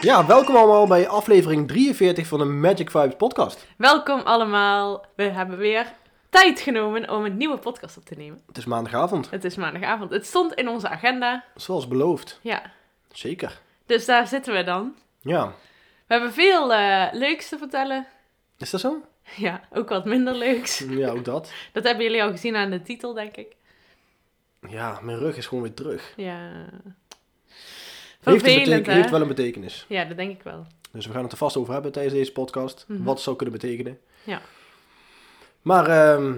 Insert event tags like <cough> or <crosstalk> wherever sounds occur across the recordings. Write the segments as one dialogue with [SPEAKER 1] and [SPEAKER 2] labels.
[SPEAKER 1] Ja, welkom allemaal bij aflevering 43 van de Magic Vibes podcast.
[SPEAKER 2] Welkom allemaal. We hebben weer tijd genomen om een nieuwe podcast op te nemen.
[SPEAKER 1] Het is maandagavond,
[SPEAKER 2] Het is maandagavond. Het stond in onze agenda.
[SPEAKER 1] zoals beloofd.
[SPEAKER 2] Ja,
[SPEAKER 1] Zeker.
[SPEAKER 2] dus daar zitten we dan.
[SPEAKER 1] Ja.
[SPEAKER 2] We hebben veel eh, leuks te vertellen.
[SPEAKER 1] Is dat zo?
[SPEAKER 2] Ja, ook wat minder leuks.
[SPEAKER 1] Ja, ook dat.
[SPEAKER 2] Dat hebben jullie al gezien aan de titel, denk ik.
[SPEAKER 1] Ja, mijn rug is gewoon weer terug.
[SPEAKER 2] Ja.
[SPEAKER 1] Heeft, een
[SPEAKER 2] Vervelend,
[SPEAKER 1] beteken-
[SPEAKER 2] hè?
[SPEAKER 1] heeft wel een betekenis.
[SPEAKER 2] Ja, dat denk ik wel.
[SPEAKER 1] Dus we gaan het er vast over hebben tijdens deze podcast.
[SPEAKER 2] Mhm.
[SPEAKER 1] Wat het zou kunnen betekenen.
[SPEAKER 2] Ja.
[SPEAKER 1] Maar, ehm,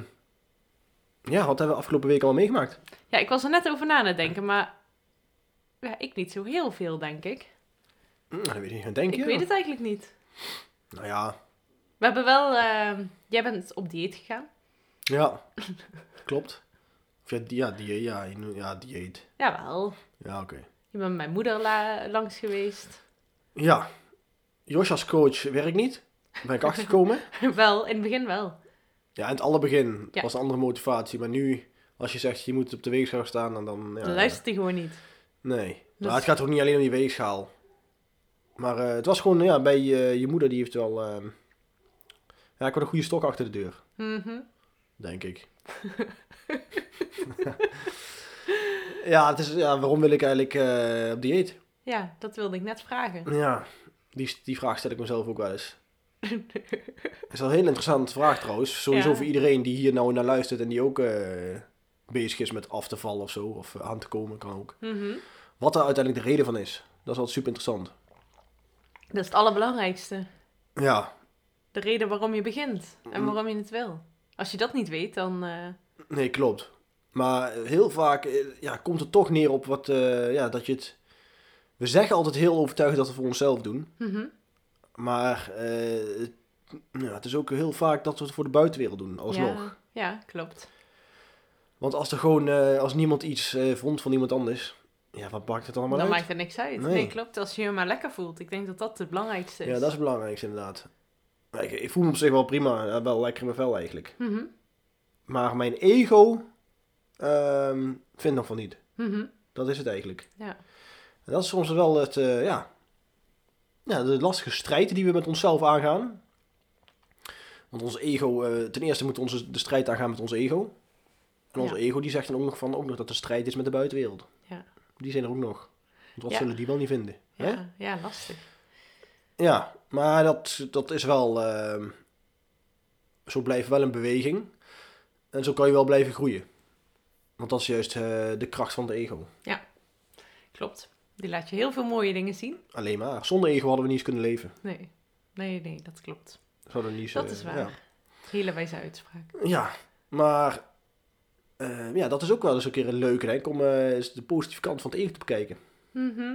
[SPEAKER 1] ja, wat hebben we afgelopen week allemaal meegemaakt?
[SPEAKER 2] Ja, ik was er net over na aan het denken, maar... Ja, ik niet zo heel veel, denk ik.
[SPEAKER 1] Hm, dat weet ik niet. Denk je?
[SPEAKER 2] ik weet het eigenlijk niet.
[SPEAKER 1] Nou ja,
[SPEAKER 2] We hebben wel... ehm, jij bent op dieet gegaan.
[SPEAKER 1] ja. <laughs> Klopt. Of ja, die- ja, die, ja, je noemt- ja, dieet.
[SPEAKER 2] Jawel.
[SPEAKER 1] Ja, oké.
[SPEAKER 2] Je bent met mijn moeder la- langs geweest. <laughs>
[SPEAKER 1] Ja. Josh als coach werkt niet. Daar ben
[SPEAKER 2] <laughs>
[SPEAKER 1] ik achtergekomen.
[SPEAKER 2] wel, in het begin wel.
[SPEAKER 1] Ja, in het allerbegin
[SPEAKER 2] Ja.
[SPEAKER 1] was een andere motivatie. Maar nu, als je zegt, je moet op de weegschaal staan, dan... dan ja,
[SPEAKER 2] Dan luistert hij gewoon niet.
[SPEAKER 1] Nee.
[SPEAKER 2] Dat-
[SPEAKER 1] Nou, het gaat ook niet alleen om die weegschaal. Maar eh, het was gewoon, ja, bij eh, je moeder die heeft wel... ehm, ja, ik had een goede stok achter de deur,
[SPEAKER 2] Mhm. <laughs>
[SPEAKER 1] denk ik. ja, het is, ja, waarom wil ik eigenlijk eh, op dieet?
[SPEAKER 2] Ja, dat wilde ik net vragen.
[SPEAKER 1] Ja, die, die vraag stel ik mezelf ook wel
[SPEAKER 2] <laughs>
[SPEAKER 1] eens. Dat is wel een heel interessante vraag trouwens. Sowieso
[SPEAKER 2] Ja.
[SPEAKER 1] voor iedereen die hier nou naar luistert en die ook eh, bezig is met af te vallen of zo. Of eh, aan te komen, kan ook.
[SPEAKER 2] Mhm.
[SPEAKER 1] Wat daar uiteindelijk de reden van is. Dat is altijd super interessant.
[SPEAKER 2] Dat is het allerbelangrijkste.
[SPEAKER 1] Ja,
[SPEAKER 2] De reden waarom je begint en
[SPEAKER 1] Mm.
[SPEAKER 2] waarom je het wil. Als je dat niet weet, dan... eh,
[SPEAKER 1] Nee, klopt. Maar heel vaak eh, ja, komt het toch neer op wat, eh, ja, dat je het... We zeggen altijd heel overtuigend dat we het voor onszelf doen.
[SPEAKER 2] mhm.
[SPEAKER 1] Maar eh, het- ja, het is ook heel vaak dat we het voor de buitenwereld doen, alsnog.
[SPEAKER 2] Ja, ja, klopt.
[SPEAKER 1] Want als er gewoon, eh, als niemand iets eh, vond van iemand anders... Ja, wat maakt het allemaal
[SPEAKER 2] dan
[SPEAKER 1] uit?
[SPEAKER 2] maakt het niks uit. Nee.
[SPEAKER 1] Nee.
[SPEAKER 2] klopt. Als je je maar lekker voelt. Ik denk dat dat het belangrijkste is.
[SPEAKER 1] Ja, dat is het belangrijkste inderdaad. Maar Ik, ik voel me op zich wel prima, eh, wel lekker in mijn vel eigenlijk.
[SPEAKER 2] Mhm,
[SPEAKER 1] Maar mijn ego ehm, vindt nog van niet.
[SPEAKER 2] mhm.
[SPEAKER 1] Dat is het eigenlijk.
[SPEAKER 2] Ja.
[SPEAKER 1] En dat is soms wel het, eh, ja, ja, de lastige strijd die we met onszelf aangaan. Want ons ego, eh, ten eerste moet onze de strijd aangaan met ons ego. En ons
[SPEAKER 2] Ja.
[SPEAKER 1] ego die zegt dan ook nog, van, ook nog dat de strijd is met de buitenwereld.
[SPEAKER 2] Ja.
[SPEAKER 1] Die zijn er ook nog. Want wat
[SPEAKER 2] Ja.
[SPEAKER 1] zullen die wel niet vinden? Hè?
[SPEAKER 2] Ja, ja, lastig.
[SPEAKER 1] Ja, maar dat, dat is wel, ehm, zo blijft wel een beweging. En zo kan je wel blijven groeien. Want dat is juist eh, de kracht van de ego.
[SPEAKER 2] Klopt. Die laat je heel veel mooie dingen zien.
[SPEAKER 1] Alleen maar. Zonder ego hadden we niet eens kunnen leven.
[SPEAKER 2] Nee, nee, nee, dat klopt.
[SPEAKER 1] Zouden we niet zo-
[SPEAKER 2] Dat is waar.
[SPEAKER 1] Ja,
[SPEAKER 2] Hele wijze uitspraak.
[SPEAKER 1] Ja, maar eh, ja, dat is ook wel eens een keer een leuke, denk ik, om eh, eens de positieve kant van het ego te bekijken.
[SPEAKER 2] Mhm.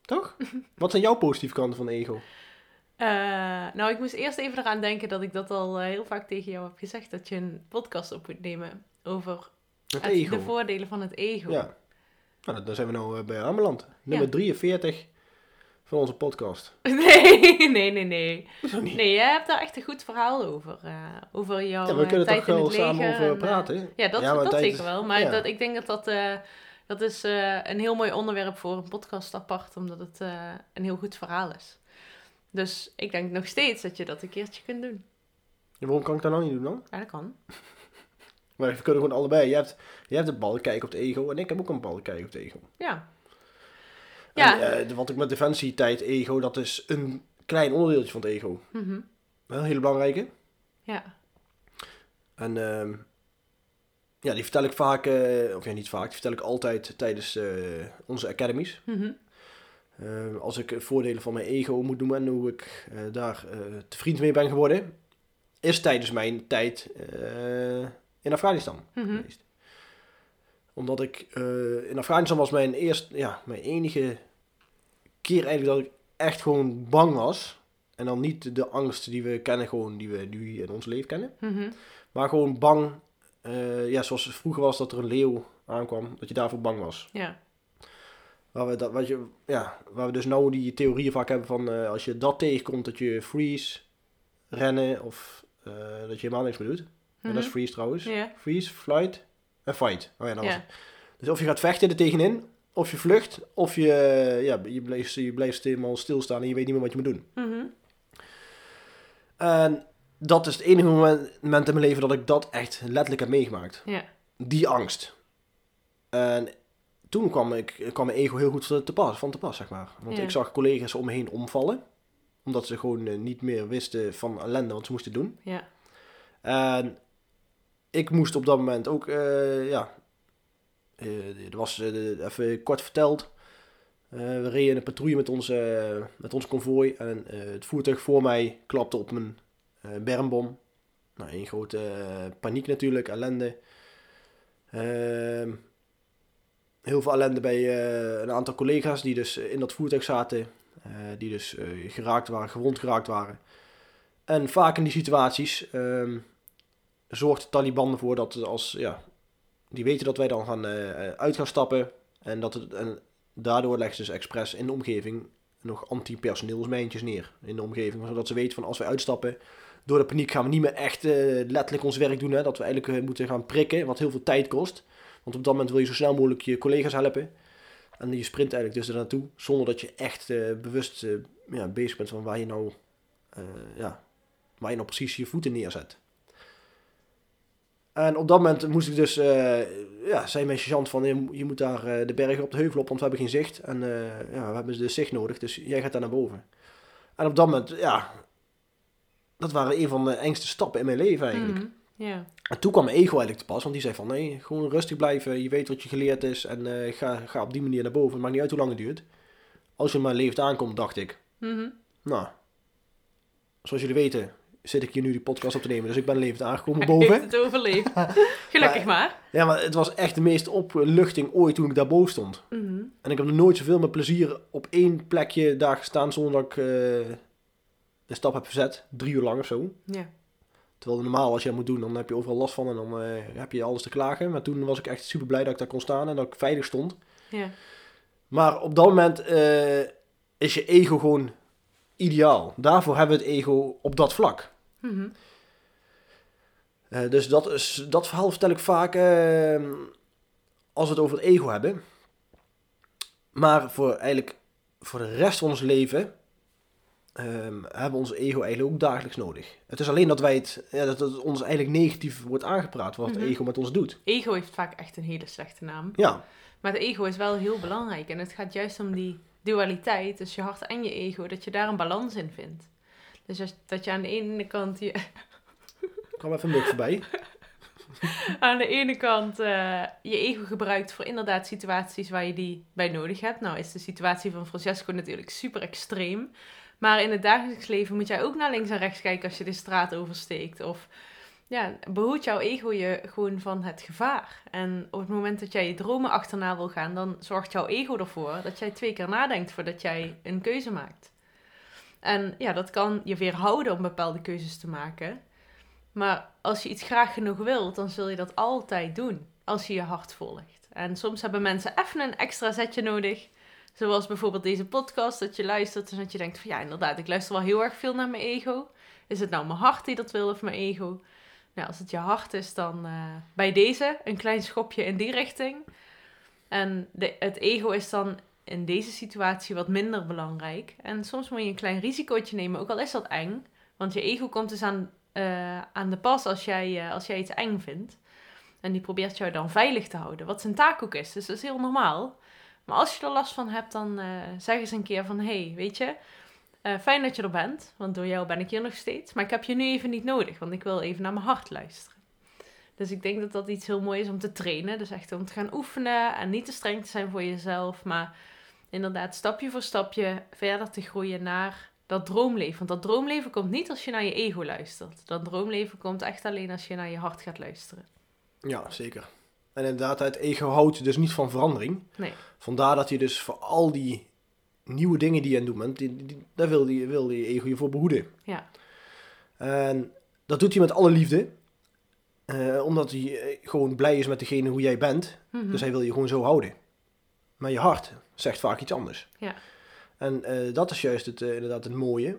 [SPEAKER 1] Toch? <laughs> Wat zijn jouw positieve kanten van ego?
[SPEAKER 2] Eh, nou, ik moest eerst even eraan denken dat ik dat al eh, heel vaak tegen jou heb gezegd. Dat je een podcast op moet nemen over
[SPEAKER 1] Het
[SPEAKER 2] het-
[SPEAKER 1] ego.
[SPEAKER 2] de voordelen van het ego.
[SPEAKER 1] ja. Nou, dan- dan zijn we nou eh, bij aanbeland. Nummer
[SPEAKER 2] Ja.
[SPEAKER 1] 43 van onze
[SPEAKER 2] <laughs>
[SPEAKER 1] podcast.
[SPEAKER 2] Nee, nee, nee, nee.
[SPEAKER 1] Zo niet.
[SPEAKER 2] Nee, jij hebt daar echt een goed verhaal over. eh, over jouw
[SPEAKER 1] ja, we
[SPEAKER 2] eh,
[SPEAKER 1] kunnen
[SPEAKER 2] tijd
[SPEAKER 1] toch
[SPEAKER 2] in
[SPEAKER 1] wel
[SPEAKER 2] het leger
[SPEAKER 1] samen over
[SPEAKER 2] en, eh,
[SPEAKER 1] praten. hè?
[SPEAKER 2] Ja, dat,
[SPEAKER 1] Ja, maar
[SPEAKER 2] dat
[SPEAKER 1] tijd
[SPEAKER 2] zeker
[SPEAKER 1] is-
[SPEAKER 2] wel. Maar
[SPEAKER 1] ja.
[SPEAKER 2] dat, ik denk dat dat, eh, dat is eh, een heel mooi onderwerp voor een podcast apart, omdat het eh, een heel goed verhaal is. Dus ik denk nog steeds dat je dat een keertje kunt doen.
[SPEAKER 1] En waarom kan ik dat nou niet doen dan?
[SPEAKER 2] Ja, dat kan.
[SPEAKER 1] Maar we kunnen gewoon allebei. Je hebt, je hebt een bal kijken op het ego en ik heb ook een bal kijken op het ego.
[SPEAKER 2] Ja. Ja.
[SPEAKER 1] Ja. wat ik met defensie tijd ego, dat is een klein onderdeeltje van het ego.
[SPEAKER 2] mhm.
[SPEAKER 1] Wel een hele belangrijke.
[SPEAKER 2] Ja.
[SPEAKER 1] En ehm, ja, die vertel ik vaak, eh, of ja, niet vaak, die vertel ik altijd tijdens eh, onze academies.
[SPEAKER 2] mhm.
[SPEAKER 1] Eh, als ik voordelen van mijn ego moet noemen en hoe ik eh, daar eh te vriend mee ben geworden, is tijdens mijn tijd eh, in Afghanistan
[SPEAKER 2] Mhm.
[SPEAKER 1] geweest. Omdat ik eh, in Afghanistan was mijn eerst, ja, mijn enige keer eigenlijk dat ik echt gewoon bang was. En dan niet de angst die we kennen, gewoon die we nu in ons leven kennen.
[SPEAKER 2] Mhm.
[SPEAKER 1] Maar gewoon bang, eh, ja, zoals het vroeger was dat er een leeuw aankwam, dat je daarvoor bang was.
[SPEAKER 2] Ja.
[SPEAKER 1] Waar we, dat, wat je, ja, waar we dus nou die theorieën vaak hebben van eh, als je dat tegenkomt, dat je freeze, rennen of eh, dat je helemaal niks meer doet. En dat is
[SPEAKER 2] Mhm.
[SPEAKER 1] freeze trouwens.
[SPEAKER 2] Ja.
[SPEAKER 1] Freeze, flight en fight. Oh ja, dat was
[SPEAKER 2] Ja.
[SPEAKER 1] het. Dus of je gaat vechten er tegenin, of je vlucht, of je, eh, ja, je, blijft, je blijft helemaal stilstaan en je weet niet meer wat je moet doen.
[SPEAKER 2] Mhm.
[SPEAKER 1] En dat is het enige moment, moment in mijn leven dat ik dat echt letterlijk heb meegemaakt.
[SPEAKER 2] Ja.
[SPEAKER 1] Die angst. En toen kwam, ik, kwam mijn ego heel goed te te pas, van te pas, zeg maar. Want
[SPEAKER 2] Ja.
[SPEAKER 1] ik zag collega's om me heen omvallen. Omdat ze gewoon eh, niet meer wisten van ellende wat ze moesten doen.
[SPEAKER 2] Ja.
[SPEAKER 1] En ik moest op dat moment ook, eh, ja, eh, er was eh, even kort verteld. Eh, we reden een patrouille met ons, eh, met ons konvooi en eh, het voertuig voor mij klapte op mijn eh, bermbom. Nou, één grote eh, paniek natuurlijk, ellende. Ehm, heel veel ellende bij eh, een aantal collega's die dus in dat voertuig zaten. eh, die dus eh, geraakt waren, gewond geraakt waren. En vaak in die situaties ehm, zorgt de Taliban ervoor dat als, ja, die weten dat wij dan gaan, eh, eh, uit gaan stappen. En, dat het, en daardoor leggen ze dus expres in de omgeving nog anti-personeelsmijntjes neer in de omgeving. Zodat ze weten van als wij uitstappen, door de paniek gaan we niet meer echt eh, letterlijk ons werk doen. Hè, dat we eigenlijk eh, moeten gaan prikken, wat heel veel tijd kost. Want op dat moment wil je zo snel mogelijk je collega's helpen. En je sprint eigenlijk dus er naartoe, zonder dat je echt eh, bewust eh, ja, bezig bent van waar je nou eh, ja, waar je nou precies je voeten neerzet. En op dat moment moest ik dus, eh, ja, zei mijn sergeant van, je, je moet daar eh, de bergen op de heuvel op, want we hebben geen zicht. En eh, ja, we hebben dus zicht nodig, dus jij gaat daar naar boven. En op dat moment, ja, dat waren een van de engste stappen in mijn leven eigenlijk.
[SPEAKER 2] Mhm. Ja.
[SPEAKER 1] En toen kwam mijn ego eigenlijk te pas, want die zei van, nee, gewoon rustig blijven, je weet wat je geleerd is en eh, ga, ga op die manier naar boven. Het maakt niet uit hoe lang het duurt. Als je maar leeft aankomt, dacht ik.
[SPEAKER 2] Mhm.
[SPEAKER 1] Nou, zoals jullie weten zit ik hier nu die podcast op te nemen, dus ik ben levend
[SPEAKER 2] <laughs>
[SPEAKER 1] aangekomen boven.
[SPEAKER 2] Heeft het overleefd. Gelukkig maar.
[SPEAKER 1] Ja, maar het was echt de meeste opluchting ooit toen ik daar boven stond.
[SPEAKER 2] Mhm.
[SPEAKER 1] En ik heb nog nooit zoveel met plezier op één plekje daar gestaan zonder dat ik eh, een stap heb verzet. Drie uur lang of zo.
[SPEAKER 2] Ja.
[SPEAKER 1] Terwijl normaal als je dat moet doen, dan heb je overal last van en dan eh, heb je alles te klagen. Maar toen was ik echt super blij dat ik daar kon staan en dat ik veilig stond.
[SPEAKER 2] Ja.
[SPEAKER 1] Maar op dat moment eh, is je ego gewoon ideaal. Daarvoor hebben we het ego op dat vlak.
[SPEAKER 2] Mhm.
[SPEAKER 1] Eh, dus dat, is, dat verhaal vertel ik vaak eh, als we het over het ego hebben. Maar voor, eigenlijk, voor de rest van ons leven eh, hebben we ons ego eigenlijk ook dagelijks nodig. Het is alleen dat, wij het, ja, dat het ons eigenlijk negatief wordt aangepraat wat
[SPEAKER 2] Mhm.
[SPEAKER 1] het ego met ons doet.
[SPEAKER 2] Ego heeft vaak echt een hele slechte naam.
[SPEAKER 1] Ja,
[SPEAKER 2] Maar het ego is wel heel belangrijk. En het gaat juist om die dualiteit, dus je hart en je ego, dat je daar een balans in vindt. Dus als- dat je aan de ene kant, je,
[SPEAKER 1] er kwam even een mug voorbij.
[SPEAKER 2] aan de ene kant eh, je ego gebruikt voor inderdaad situaties waar je die bij nodig hebt. Nou is de situatie van Francesco natuurlijk super extreem. Maar in het dagelijks leven moet jij ook naar links en rechts kijken als je de straat oversteekt. Of ja, behoedt jouw ego je gewoon van het gevaar. En op het moment dat jij je dromen achterna wil gaan, dan zorgt jouw ego ervoor dat jij twee keer nadenkt voordat jij een keuze maakt. En ja, dat kan je weerhouden om bepaalde keuzes te maken. Maar als je iets graag genoeg wilt, dan zul je dat altijd doen. Als je je hart volgt. En soms hebben mensen even een extra zetje nodig. Zoals bijvoorbeeld deze podcast, dat je luistert en dat je denkt van ja, inderdaad, ik luister wel heel erg veel naar mijn ego. Is het nou mijn hart die dat wil of mijn ego? Nou, als het je hart is, dan eh, bij deze een klein schopje in die richting. En de, het ego is dan in deze situatie wat minder belangrijk. En soms moet je een klein risicootje nemen, ook al is dat eng. Want je ego komt dus aan, eh, aan de pas als jij, eh, als jij iets eng vindt. En die probeert jou dan veilig te houden, wat zijn taak ook is. Dus dat is heel normaal. Maar als je er last van hebt, dan eh, zeg eens een keer van... Hé, hey, weet je, eh, fijn dat je er bent, want door jou ben ik hier nog steeds. Maar ik heb je nu even niet nodig, want ik wil even naar mijn hart luisteren. Dus ik denk dat dat iets heel moois is om te trainen. Dus echt om te gaan oefenen en niet te streng te zijn voor jezelf. Maar inderdaad, stapje voor stapje verder te groeien naar dat droomleven. Want dat droomleven komt niet als je naar je ego luistert. Dat droomleven komt echt alleen als je naar je hart gaat luisteren.
[SPEAKER 1] Ja, zeker. En inderdaad, het ego houdt dus niet van verandering.
[SPEAKER 2] Nee.
[SPEAKER 1] Vandaar dat je dus voor al die nieuwe dingen die je aan het doen bent, die, die- daar wil je, wil je ego je voor behoeden.
[SPEAKER 2] Ja.
[SPEAKER 1] En dat doet hij met alle liefde. Eh, omdat hij eh, gewoon blij is met degene hoe jij bent.
[SPEAKER 2] Mhm.
[SPEAKER 1] Dus hij wil je gewoon zo houden. Maar je hart zegt vaak iets anders.
[SPEAKER 2] Ja.
[SPEAKER 1] En eh, dat is juist het, eh, inderdaad het mooie.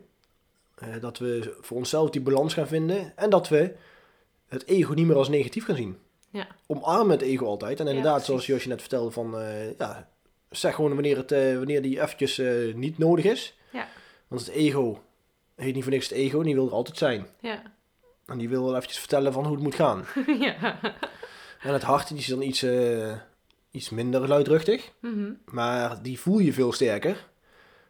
[SPEAKER 1] Eh, dat we voor onszelf die balans gaan vinden. En dat we het ego niet meer als negatief gaan zien.
[SPEAKER 2] Ja.
[SPEAKER 1] Omarmen het ego altijd. En
[SPEAKER 2] Ja,
[SPEAKER 1] inderdaad,
[SPEAKER 2] precies.
[SPEAKER 1] zoals Josje net vertelde, van, eh, ja, zeg gewoon wanneer, het, eh, wanneer die eventjes eh, niet nodig is.
[SPEAKER 2] Ja.
[SPEAKER 1] Want het ego heet niet voor niks het ego. En die wil er altijd zijn.
[SPEAKER 2] Ja. <laughs>
[SPEAKER 1] En die wil wel eventjes vertellen van hoe het moet gaan.
[SPEAKER 2] ja.
[SPEAKER 1] En het hart die is dan iets, eh, iets minder luidruchtig.
[SPEAKER 2] Mhm.
[SPEAKER 1] Maar die voel je veel sterker.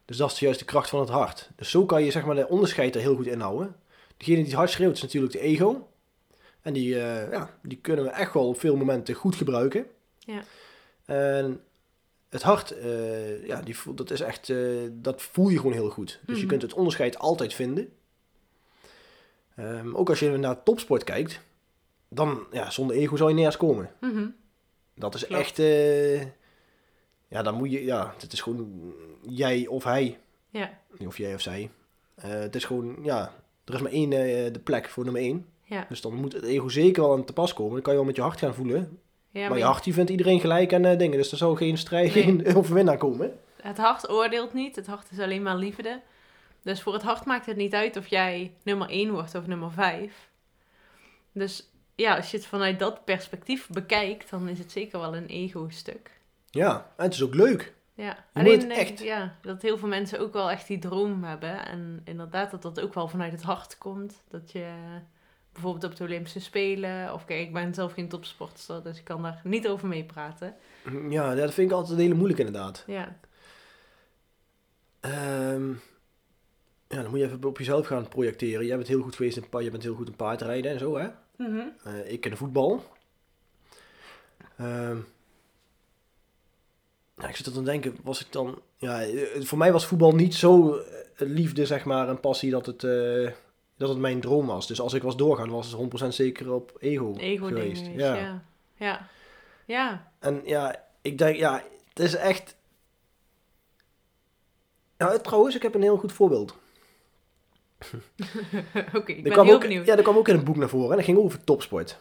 [SPEAKER 1] Dus dat is juist de kracht van het hart. Dus zo kan je zeg maar de onderscheid er heel goed in houden. Degene die het hard schreeuwt is natuurlijk de ego. En die, eh, ja, die kunnen we echt wel op veel momenten goed gebruiken.
[SPEAKER 2] Ja.
[SPEAKER 1] En het hart, eh, ja, die voel, dat, is echt, eh, dat voel je gewoon heel goed. Dus je
[SPEAKER 2] Mhm.
[SPEAKER 1] kunt het onderscheid altijd vinden. Ehm, ook als je naar topsport kijkt, dan ja, zonder ego zou je nergens komen.
[SPEAKER 2] Mhm.
[SPEAKER 1] Dat is
[SPEAKER 2] Klopt.
[SPEAKER 1] echt. eh, ja, dan moet je. Ja, het is gewoon jij of hij.
[SPEAKER 2] Ja.
[SPEAKER 1] Of jij of zij. Eh, het is gewoon. Ja, er is maar één eh, de plek voor nummer één.
[SPEAKER 2] Ja.
[SPEAKER 1] Dus dan moet het ego zeker wel aan te pas komen. Dan kan je wel met je hart gaan voelen.
[SPEAKER 2] Ja,
[SPEAKER 1] maar
[SPEAKER 2] maar
[SPEAKER 1] je hart die vindt iedereen gelijk en eh, dingen. Dus er zou geen strijd,
[SPEAKER 2] Nee.
[SPEAKER 1] geen <laughs> overwinnaar komen.
[SPEAKER 2] het hart oordeelt niet. Het hart is alleen maar liefde. Dus voor het hart maakt het niet uit of jij nummer 1 wordt of nummer 5. Dus ja, als je het vanuit dat perspectief bekijkt, dan is het zeker wel een ego-stuk.
[SPEAKER 1] Ja, en het is ook leuk.
[SPEAKER 2] Ja,
[SPEAKER 1] moet het
[SPEAKER 2] alleen denk
[SPEAKER 1] echt.
[SPEAKER 2] ik ja, dat heel veel mensen ook wel echt die droom hebben. En inderdaad, dat dat ook wel vanuit het hart komt. Dat je bijvoorbeeld op de Olympische Spelen, of kijk, ik ben zelf geen topsportster, dus ik kan daar niet over meepraten.
[SPEAKER 1] Ja, dat vind ik altijd heel moeilijk inderdaad.
[SPEAKER 2] Ja,
[SPEAKER 1] Ehm, ja, dan moet je even op jezelf gaan projecteren. Jij bent heel goed geweest in, pa- je bent heel goed in paardrijden en zo, hè?
[SPEAKER 2] Mhm.
[SPEAKER 1] Eh, ik ken voetbal. Ehm, nou, ik zit er dan te denken, was ik dan... Ja, eh, voor mij was voetbal niet zo eh, liefde, zeg maar, en passie dat het, eh, dat het mijn droom was. Dus als ik was doorgaan, was het 100% zeker op ego,
[SPEAKER 2] ego
[SPEAKER 1] geweest.
[SPEAKER 2] dingen.
[SPEAKER 1] ja.
[SPEAKER 2] Ja. ja, ja, ja, <laughs>
[SPEAKER 1] En ja, ik denk, ja, het is echt... Ja, trouwens, ik heb een heel goed voorbeeld.
[SPEAKER 2] oké, ik
[SPEAKER 1] Er
[SPEAKER 2] ben heel
[SPEAKER 1] ook,
[SPEAKER 2] benieuwd.
[SPEAKER 1] Ja, dat kwam ook in een boek naar voren. En dat ging over topsport.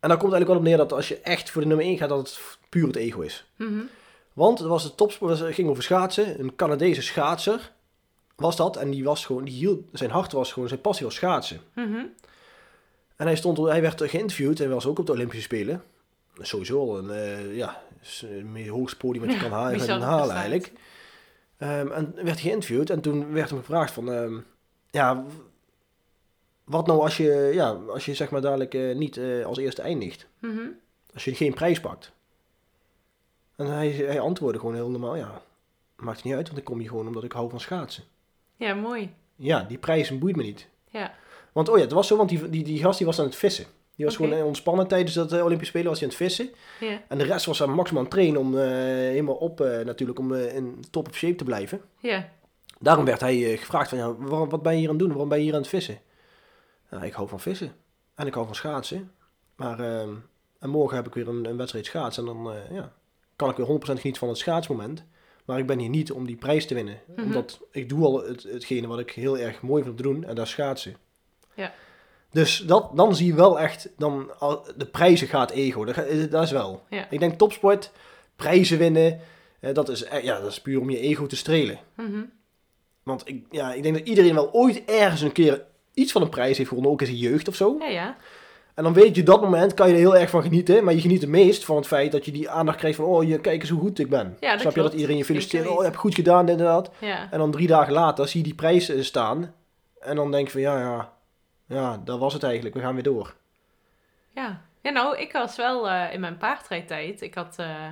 [SPEAKER 1] En daar komt eigenlijk wel op neer dat als je echt voor de nummer 1 gaat, dat het puur het ego is.
[SPEAKER 2] Mhm.
[SPEAKER 1] Want het was de topsport, het ging over schaatsen. Een Canadese schaatser was dat. En die was gewoon, die hield, zijn hart was gewoon, zijn passie was schaatsen.
[SPEAKER 2] Mhm.
[SPEAKER 1] En hij, stond, hij werd geïnterviewd en was ook op de Olympische Spelen. Sowieso al een, eh ja, s- een hoogst podium wat je kan halen,
[SPEAKER 2] bizarre
[SPEAKER 1] kan halen
[SPEAKER 2] prestatie.
[SPEAKER 1] eigenlijk. Ehm, en werd geïnterviewd en toen werd hem gevraagd van, ehm, ja, w- wat nou als je, ja, als je zeg maar dadelijk eh, niet eh, als eerste eindigt?
[SPEAKER 2] Mhm.
[SPEAKER 1] Als je geen prijs pakt. En hij, hij antwoordde gewoon heel normaal, ja, maakt niet uit, want ik kom hier gewoon omdat ik hou van schaatsen.
[SPEAKER 2] Ja, mooi.
[SPEAKER 1] Ja, die prijzen boeit me niet.
[SPEAKER 2] Ja.
[SPEAKER 1] Want oh ja, het was zo, want die, die, die gast die was aan het vissen. Die was
[SPEAKER 2] Oké.
[SPEAKER 1] gewoon eh, ontspannen tijdens dat eh, Olympische Spelen was hij aan het vissen.
[SPEAKER 2] Ja,
[SPEAKER 1] En de rest was aan maximaal aan het trainen om eh, helemaal op eh, natuurlijk, om eh, in top of shape te blijven.
[SPEAKER 2] ja,
[SPEAKER 1] Daarom werd hij eh, gevraagd van, ja, waarom, wat ben je hier aan het doen? Waarom ben je hier aan het vissen? Nou, ik hou van vissen. En ik hou van schaatsen. Maar, ehm, en morgen heb ik weer een, een wedstrijd schaatsen. En dan eh, ja, kan ik weer 100% genieten van het schaatsmoment. Maar ik ben hier niet om die prijs te winnen.
[SPEAKER 2] Mhm.
[SPEAKER 1] Omdat ik doe al het, hetgene wat ik heel erg mooi vind om te doen. En dat is schaatsen.
[SPEAKER 2] Ja.
[SPEAKER 1] Dus dat, dan zie je wel echt, dan, al- de prijzen gaat ego. Dat, ga- eh, dat is wel.
[SPEAKER 2] Ja.
[SPEAKER 1] Ik denk topsport, prijzen winnen. eh, dat, is, eh, ja, dat is puur om je ego te strelen.
[SPEAKER 2] Mhm.
[SPEAKER 1] Want ik, ja, ik denk dat iedereen wel ooit ergens een keer iets van een prijs heeft gewonnen, ook in zijn jeugd of zo.
[SPEAKER 2] ja, ja.
[SPEAKER 1] En dan weet je, dat moment kan je er heel erg van genieten, maar je geniet het meest van het feit dat je die aandacht krijgt van, oh, je, kijk eens hoe goed ik ben.
[SPEAKER 2] Ja, dat
[SPEAKER 1] Snap je dat
[SPEAKER 2] klopt.
[SPEAKER 1] iedereen je feliciteert,
[SPEAKER 2] Zeker
[SPEAKER 1] oh, je
[SPEAKER 2] weten.
[SPEAKER 1] hebt goed gedaan, dit en dat.
[SPEAKER 2] ja.
[SPEAKER 1] En dan drie dagen later zie je die prijs eh, staan en dan denk je van, ja, ja, ja, dat was het eigenlijk, we gaan weer door.
[SPEAKER 2] Ja. ja, nou, ik was wel eh, in mijn paardrijdtijd. Ik had, eh,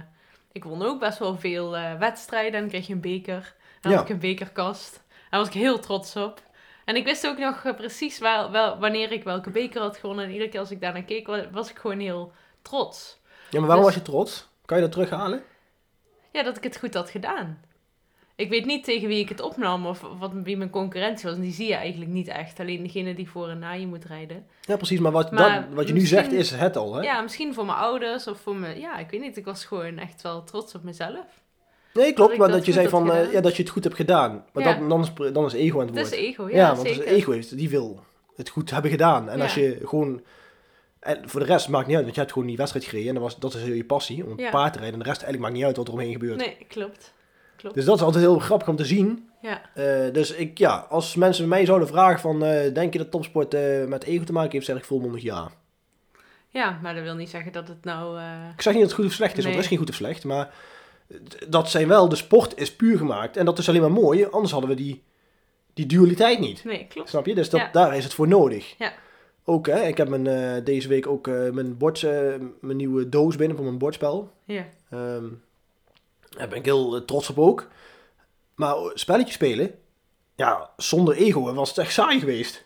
[SPEAKER 2] ik won ook best wel veel eh, wedstrijden en kreeg je een beker. Dan
[SPEAKER 1] Ja.
[SPEAKER 2] had ik een bekerkast. Daar was ik heel trots op. En ik wist ook nog eh, precies wel, wel, wanneer ik welke beker had gewonnen. En iedere keer als ik daarnaar keek, wa- was ik gewoon heel trots.
[SPEAKER 1] Ja, maar waarom
[SPEAKER 2] Dus-
[SPEAKER 1] was je trots? Kan je dat terughalen?
[SPEAKER 2] Ja, dat ik het goed had gedaan. Ik weet niet tegen wie ik het opnam of wat, wie mijn concurrentie was. En die zie je eigenlijk niet echt. Alleen degene die voor en na je moet rijden.
[SPEAKER 1] Ja, precies, maar wat,
[SPEAKER 2] Maar
[SPEAKER 1] dat, wat je nu
[SPEAKER 2] misschien-
[SPEAKER 1] zegt is het al, hè?
[SPEAKER 2] Ja, misschien voor mijn ouders of voor mijn... Ja, ik weet niet. Ik was gewoon echt wel trots op mezelf.
[SPEAKER 1] Nee, klopt.
[SPEAKER 2] ik
[SPEAKER 1] Maar
[SPEAKER 2] dat
[SPEAKER 1] dat je
[SPEAKER 2] goed had
[SPEAKER 1] zei van, eh,
[SPEAKER 2] gedaan.
[SPEAKER 1] ja, dat je het goed hebt gedaan. Maar
[SPEAKER 2] Ja.
[SPEAKER 1] dan, dan, is, dan is ego aan het
[SPEAKER 2] Het is
[SPEAKER 1] woord.
[SPEAKER 2] ego, Oh ja,
[SPEAKER 1] ja, want
[SPEAKER 2] zeker.
[SPEAKER 1] het is ego heeft, die wil het goed hebben gedaan. En
[SPEAKER 2] Ja.
[SPEAKER 1] als je gewoon... En voor de rest maakt niet uit, want je hebt gewoon die wedstrijd gereden. En dat, was, dat is heel je passie, om het
[SPEAKER 2] Ja.
[SPEAKER 1] paard te rijden. En de rest eigenlijk maakt niet uit wat er omheen gebeurt.
[SPEAKER 2] Nee, klopt.
[SPEAKER 1] Dus dat is altijd heel grappig om te zien.
[SPEAKER 2] Ja,
[SPEAKER 1] Eh, dus ik, ja, als mensen mij zouden vragen van, eh, denk je dat topsport eh, met ego te maken heeft, zeg ik volmondig ja.
[SPEAKER 2] ja maar dat wil niet zeggen dat het nou... eh,
[SPEAKER 1] Ik zeg niet dat het goed of slecht is, want
[SPEAKER 2] Nee.
[SPEAKER 1] er is geen goed of slecht, maar d- dat zijn wel, de sport is puur gemaakt en dat is alleen maar mooi, anders hadden we die, die dualiteit niet.
[SPEAKER 2] Nee, klopt.
[SPEAKER 1] Snap je? Dus dat,
[SPEAKER 2] Ja.
[SPEAKER 1] daar is het voor nodig.
[SPEAKER 2] Ja.
[SPEAKER 1] Ook, hè, ik heb mijn, eh, deze week ook eh, mijn, bord, eh, mijn nieuwe doos binnen voor mijn bordspel.
[SPEAKER 2] Ja, <laughs>
[SPEAKER 1] Ehm, daar ben ik heel eh, trots op ook. Maar spelletje spelen, ja, zonder ego was het echt saai
[SPEAKER 2] <laughs>
[SPEAKER 1] geweest.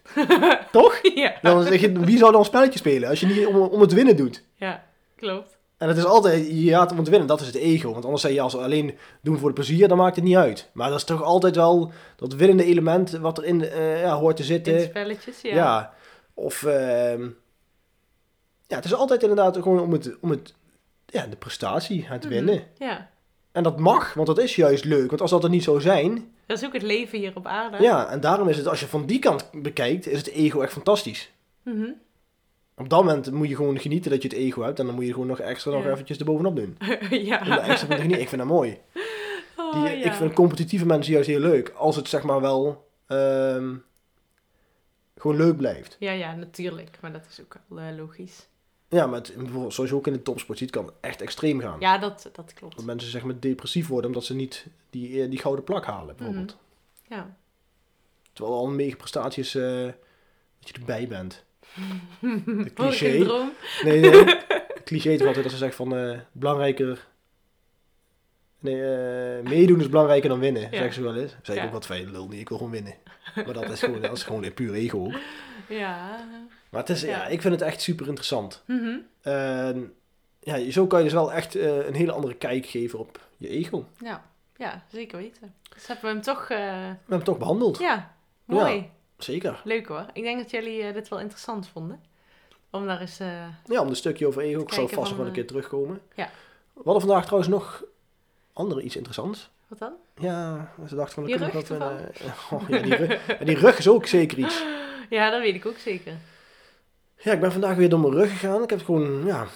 [SPEAKER 1] Toch?
[SPEAKER 2] ja.
[SPEAKER 1] Dan zeg je, wie zou dan een spelletje spelen als je niet om, om het winnen doet?
[SPEAKER 2] ja klopt.
[SPEAKER 1] En het is altijd, je gaat om het winnen, dat is het ego. Want anders zei je, als we alleen doen voor de plezier, dan maakt het niet uit. Maar dat is toch altijd wel dat winnende element wat erin eh, ja, hoort te zitten.
[SPEAKER 2] In spelletjes, ja.
[SPEAKER 1] Ja. Of, ehm, ja, het is altijd inderdaad gewoon om, het, om het, ja, de prestatie, het
[SPEAKER 2] Mhm.
[SPEAKER 1] winnen.
[SPEAKER 2] Ja.
[SPEAKER 1] En dat mag, want dat is juist leuk. Want als dat er niet zou zijn.
[SPEAKER 2] Dat is ook het leven hier op aarde.
[SPEAKER 1] Ja, en daarom is het, als je van die kant bekijkt, is het ego echt fantastisch.
[SPEAKER 2] Mhm. <laughs>
[SPEAKER 1] Op dat moment moet je gewoon genieten dat je het ego hebt. En dan moet je gewoon nog extra nog
[SPEAKER 2] Ja.
[SPEAKER 1] eventjes
[SPEAKER 2] <laughs>
[SPEAKER 1] erbovenop doen.
[SPEAKER 2] ja.
[SPEAKER 1] Om er extra van te genieten. Ik vind dat mooi.
[SPEAKER 2] Oh,
[SPEAKER 1] Die,
[SPEAKER 2] ja.
[SPEAKER 1] Ik vind competitieve mensen juist heel leuk. Als het zeg maar wel ehm, gewoon leuk blijft.
[SPEAKER 2] ja, ja, natuurlijk. Maar dat is ook wel eh, logisch.
[SPEAKER 1] Ja, maar het, bijvoorbeeld, zoals je ook in de topsport ziet, kan het echt extreem gaan.
[SPEAKER 2] Ja, dat, dat klopt.
[SPEAKER 1] Dat mensen zeg maar depressief worden omdat ze niet die, eh, die gouden plak halen bijvoorbeeld.
[SPEAKER 2] Mhm. Ja.
[SPEAKER 1] Terwijl al een mega prestatie is eh, dat je erbij bent. De
[SPEAKER 2] <laughs> Hoor ik een
[SPEAKER 1] cliché.
[SPEAKER 2] droom?
[SPEAKER 1] Nee, nee.
[SPEAKER 2] <laughs>
[SPEAKER 1] Het cliché is altijd dat ze zegt van eh, belangrijker. Nee, eh, meedoen is belangrijker dan winnen,
[SPEAKER 2] Ja.
[SPEAKER 1] zeggen ze wel eens. Zeg ik
[SPEAKER 2] Ja.
[SPEAKER 1] ook wat fijn, lul niet, ik wil gewoon winnen. Maar dat is gewoon, dat is gewoon puur ego ook.
[SPEAKER 2] Ja.
[SPEAKER 1] Maar het is, ja.
[SPEAKER 2] Ja.
[SPEAKER 1] ik vind het echt super interessant.
[SPEAKER 2] Mhm.
[SPEAKER 1] En ja, zo kan je dus wel echt eh, een hele andere kijk geven op je ego.
[SPEAKER 2] ja. Ja, zeker weten. Dus hebben we hem toch... eh,
[SPEAKER 1] We hebben het toch behandeld.
[SPEAKER 2] Ja, mooi.
[SPEAKER 1] Zeker.
[SPEAKER 2] Leuk hoor. Ik denk dat jullie eh, dit wel interessant vonden. Om daar eens... eh,
[SPEAKER 1] Ja, om een stukje over ego. Ik zal
[SPEAKER 2] Kijken
[SPEAKER 1] vast nog
[SPEAKER 2] van,
[SPEAKER 1] wel een
[SPEAKER 2] eh,
[SPEAKER 1] keer terugkomen.
[SPEAKER 2] ja.
[SPEAKER 1] We hadden vandaag trouwens nog andere iets interessants.
[SPEAKER 2] Wat dan?
[SPEAKER 1] Ja, ze dachten van...
[SPEAKER 2] Die
[SPEAKER 1] dan
[SPEAKER 2] rug
[SPEAKER 1] kunnen we nog wat, eh, <laughs> oh, ja, die rug, en die rug is ook zeker iets.
[SPEAKER 2] Ja, dat weet ik ook zeker.
[SPEAKER 1] Ja, ik ben vandaag weer door mijn rug gegaan. Ik heb gewoon, ja...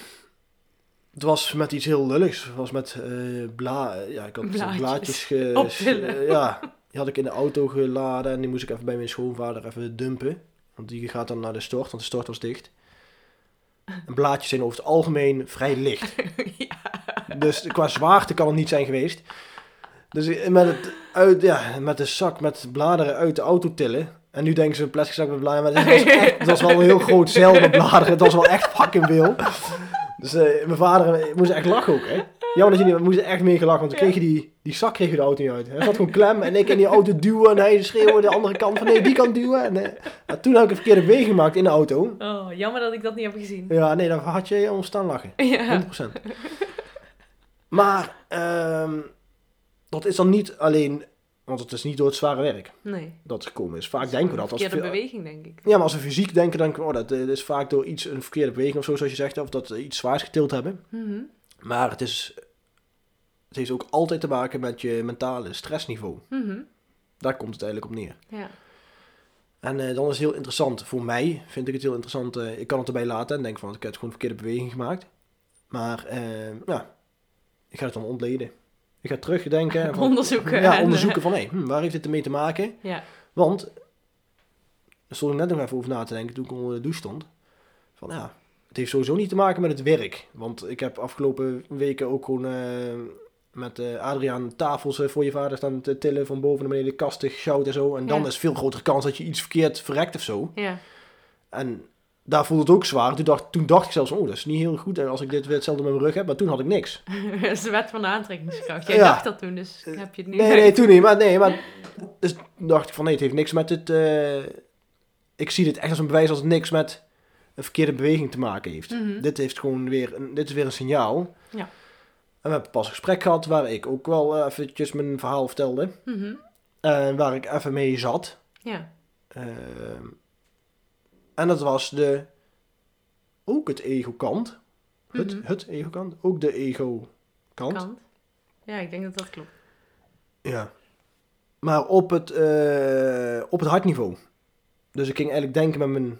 [SPEAKER 1] Het was met iets heel lulligs. Het was met eh bla... Ja, ik had
[SPEAKER 2] Blaadjes.
[SPEAKER 1] blaadjes, ge...
[SPEAKER 2] Optillen.
[SPEAKER 1] eh, ja, die had ik in de auto geladen. En die moest ik even bij mijn schoonvader even dumpen. Want die gaat dan naar de stort, want de stort was dicht. En blaadjes zijn over het algemeen vrij licht.
[SPEAKER 2] ja.
[SPEAKER 1] Dus qua zwaarte kan het niet zijn geweest. Dus met, het uit, ja, met de zak met bladeren uit de auto tillen. En nu denken ze een plastic zak met bladeren. Maar het was, echt, het was wel een heel groot zeil met bladeren. Het was wel echt fucking veel. Dus eh, mijn vader eh, moest echt lachen ook. Hè. Jammer dat je niet, we moesten echt meer gelachen. Want dan kreeg je die, die zak kreeg je de auto niet uit. Hij zat gewoon klem. En ik in die auto duwen. En hij schreeuwde de andere kant van nee, die kant duwen. En, eh, maar toen heb ik een verkeerde beweging gemaakt in de auto.
[SPEAKER 2] Oh, jammer dat ik dat niet heb gezien.
[SPEAKER 1] Ja, nee, dan had je ons staan lachen.
[SPEAKER 2] <laughs> Ja.
[SPEAKER 1] 100%. maar ehm, dat is dan niet alleen, want het is niet door het zware werk
[SPEAKER 2] Nee.
[SPEAKER 1] dat het gekomen is. Vaak denken we dat. Als
[SPEAKER 2] Verkeerde
[SPEAKER 1] we-
[SPEAKER 2] beweging, denk ik.
[SPEAKER 1] ja, maar als we fysiek denken, dan denken we, oh, dat eh, dat is vaak door iets, een verkeerde beweging of zo, zoals je zegt, of dat we iets zwaars getild hebben.
[SPEAKER 2] Mhm.
[SPEAKER 1] Maar het, is, het heeft ook altijd te maken met je mentale stressniveau.
[SPEAKER 2] Mhm.
[SPEAKER 1] Daar komt het eigenlijk op neer.
[SPEAKER 2] Ja.
[SPEAKER 1] En eh, dan is het heel interessant, voor mij vind ik het heel interessant, eh, ik kan het erbij laten en denk van, ik heb gewoon een verkeerde beweging gemaakt. Maar, eh, ja, ik ga het dan ontleden. Ik ga
[SPEAKER 2] <laughs>
[SPEAKER 1] terugdenken. en van-
[SPEAKER 2] Onderzoeken. en,
[SPEAKER 1] Ja,
[SPEAKER 2] eh,
[SPEAKER 1] onderzoeken van, hé, hm, waar heeft dit ermee te maken?
[SPEAKER 2] <laughs> Ja.
[SPEAKER 1] Want, daar stond ik net nog even over na te denken toen ik onder de douche stond. Van, ja, het heeft sowieso niet te maken met het werk. Want ik heb afgelopen weken ook gewoon eh, met eh, Adriaan tafels eh, voor je vader staan te tillen van boven naar beneden, kasten, goud en zo. En dan
[SPEAKER 2] Ja.
[SPEAKER 1] is veel grotere kans dat je iets verkeerd verrekt of zo.
[SPEAKER 2] Ja. <laughs>
[SPEAKER 1] En daar voelde het ook zwaar. Toen dacht, toen dacht ik zelfs, oh, dat is niet heel goed. En als ik dit weer hetzelfde met mijn rug heb, maar toen had ik niks.
[SPEAKER 2] dat is de wet van de aantrekkingskracht. Jij
[SPEAKER 1] Ja. Eh,
[SPEAKER 2] dacht dat toen, dus heb je het nu.
[SPEAKER 1] Nee, nee, toen niet. Maar nee, maar dus toen dacht ik van, nee, het heeft niks met het... eh, ik zie dit echt als een bewijs als het niks met een verkeerde beweging te maken heeft.
[SPEAKER 2] Mhm.
[SPEAKER 1] Dit heeft gewoon weer, een, dit is weer een signaal.
[SPEAKER 2] Ja.
[SPEAKER 1] En we hebben pas een gesprek gehad waar ik ook wel eh, eventjes mijn verhaal vertelde.
[SPEAKER 2] Mhm.
[SPEAKER 1] En waar ik even mee zat.
[SPEAKER 2] Ja.
[SPEAKER 1] Ehm, en dat was de, ook het ego-kant. Het,
[SPEAKER 2] Mhm.
[SPEAKER 1] het ego-kant. Ook de ego-kant.
[SPEAKER 2] Kant. Ja, ik denk dat dat klopt.
[SPEAKER 1] Ja. Maar op het, eh, op het hartniveau. Dus ik ging eigenlijk denken met mijn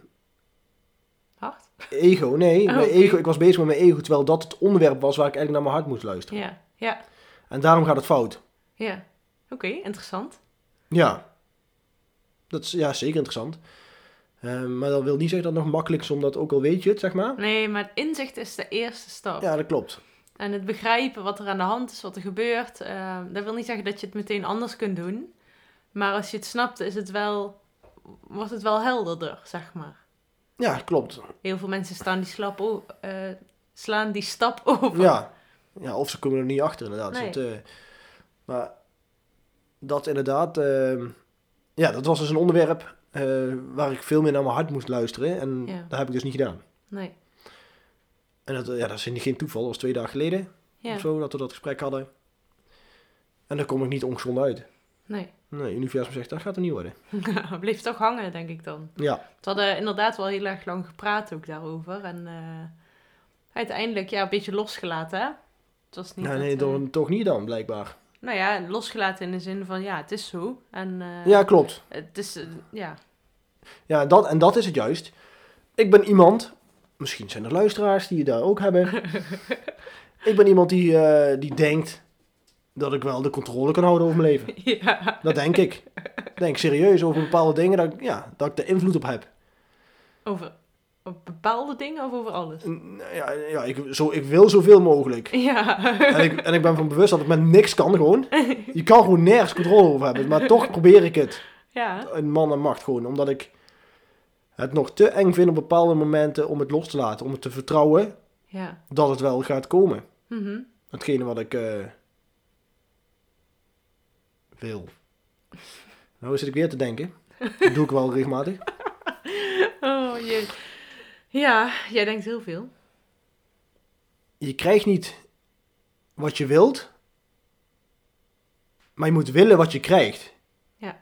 [SPEAKER 2] Hard?
[SPEAKER 1] ego. Nee,
[SPEAKER 2] Oh,
[SPEAKER 1] mijn
[SPEAKER 2] oké.
[SPEAKER 1] ego, ik was bezig met mijn ego, terwijl dat het onderwerp was waar ik eigenlijk naar mijn hart moest luisteren.
[SPEAKER 2] Ja, ja,
[SPEAKER 1] En daarom gaat het fout.
[SPEAKER 2] ja. Oké, interessant.
[SPEAKER 1] Ja. Dat is ja, zeker interessant. Eh, maar dat wil niet zeggen dat het nog makkelijk is, omdat ook al weet je het, zeg maar.
[SPEAKER 2] Nee, maar het inzicht is de eerste stap.
[SPEAKER 1] Ja, dat klopt.
[SPEAKER 2] En het begrijpen wat er aan de hand is, wat er gebeurt. eh, dat wil niet zeggen dat je het meteen anders kunt doen. Maar als je het snapt, is het wel, wordt het wel helderder, zeg maar.
[SPEAKER 1] Ja, dat klopt.
[SPEAKER 2] Heel veel mensen staan die slap o- eh, slaan die stap <laughs> over.
[SPEAKER 1] Ja. ja, of ze komen er niet achter inderdaad.
[SPEAKER 2] Nee.
[SPEAKER 1] Dus dat, eh, maar dat inderdaad, eh, ja, dat was dus een onderwerp eh, waar ik veel meer naar mijn hart moest luisteren. En
[SPEAKER 2] Ja.
[SPEAKER 1] dat heb ik dus niet gedaan.
[SPEAKER 2] Nee.
[SPEAKER 1] En dat, eh, ja, dat is geen toeval, dat was twee dagen geleden
[SPEAKER 2] Ja.
[SPEAKER 1] of zo dat we dat gesprek hadden. En daar kom ik niet ongezond uit.
[SPEAKER 2] Nee. <laughs>
[SPEAKER 1] Nee, het universum zegt, dat gaat er niet worden.
[SPEAKER 2] Bleef toch hangen, denk ik dan.
[SPEAKER 1] Ja,
[SPEAKER 2] We hadden inderdaad wel heel erg lang gepraat ook daarover. En eh, uiteindelijk, ja, een beetje losgelaten, hè? Het was niet
[SPEAKER 1] ja
[SPEAKER 2] dat,
[SPEAKER 1] nee,
[SPEAKER 2] eh,
[SPEAKER 1] dan, toch niet dan, blijkbaar.
[SPEAKER 2] Nou ja, losgelaten in de zin van, ja, het is zo. En eh,
[SPEAKER 1] Ja, klopt.
[SPEAKER 2] het is, eh, ja,
[SPEAKER 1] Ja, dat, en dat is het juist. Ik ben iemand, misschien zijn er luisteraars die het daar ook hebben. ik ben iemand die, eh, die denkt dat ik wel de controle kan houden over mijn leven.
[SPEAKER 2] <laughs> ja,
[SPEAKER 1] Dat denk ik. Ik Denk serieus over bepaalde dingen dat, ik- ja, dat ik de invloed op heb.
[SPEAKER 2] over op bepaalde dingen of over alles?
[SPEAKER 1] En, Ja, ja ik, zo, ik wil zoveel mogelijk.
[SPEAKER 2] Ja,
[SPEAKER 1] En ik, en ik ben van bewust dat het met niks kan gewoon. Je kan gewoon nergens controle over hebben. Maar toch probeer ik het.
[SPEAKER 2] <laughs> ja,
[SPEAKER 1] Een man en macht gewoon. Omdat ik het nog te eng vind op bepaalde momenten om het los te laten. Om het te vertrouwen
[SPEAKER 2] ja.
[SPEAKER 1] dat het wel gaat komen.
[SPEAKER 2] Mhm.
[SPEAKER 1] Hetgene wat ik eh, wil. Nou zit ik weer te denken. Dat doe ik wel regelmatig.
[SPEAKER 2] Oh jee. Ja, jij denkt heel veel.
[SPEAKER 1] Je krijgt niet wat je wilt. Maar je moet willen wat je krijgt.
[SPEAKER 2] Ja.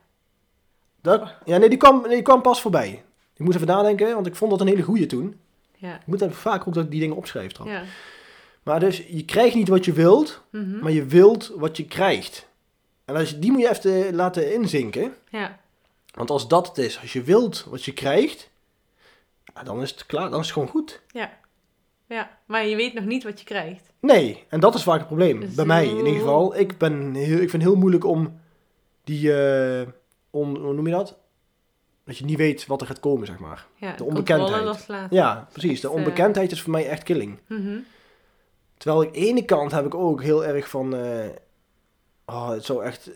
[SPEAKER 1] Dat, ja, nee, die kwam, nee, die kwam pas voorbij. Ik moet even nadenken, want ik vond dat een hele goeie toen.
[SPEAKER 2] Ja,
[SPEAKER 1] Ik moet even vaak ook dat ik die dingen opschrijf trouwens.
[SPEAKER 2] ja.
[SPEAKER 1] Maar dus, je krijgt niet wat je wilt,
[SPEAKER 2] Mhm.
[SPEAKER 1] maar je wilt wat je krijgt. En als je, die moet je even eh, laten inzinken.
[SPEAKER 2] ja.
[SPEAKER 1] Want als dat het is, als je wilt wat je krijgt, ja, dan is het klaar, dan is het gewoon goed.
[SPEAKER 2] ja, maar je weet nog niet wat je krijgt.
[SPEAKER 1] Nee, en dat is vaak het probleem.
[SPEAKER 2] Dus
[SPEAKER 1] Bij mij
[SPEAKER 2] heel-
[SPEAKER 1] in ieder geval. Ik, ben heel, ik vind het heel moeilijk om die, eh, om, hoe noem je dat? Dat je niet weet wat er gaat komen, zeg maar.
[SPEAKER 2] Ja,
[SPEAKER 1] De onbekendheid.
[SPEAKER 2] controle loslaten.
[SPEAKER 1] Ja, precies. De
[SPEAKER 2] Echt, eh,
[SPEAKER 1] onbekendheid is voor mij echt killing.
[SPEAKER 2] Mhm.
[SPEAKER 1] Terwijl ik ene kant heb ik ook heel erg van, eh, oh, het zou echt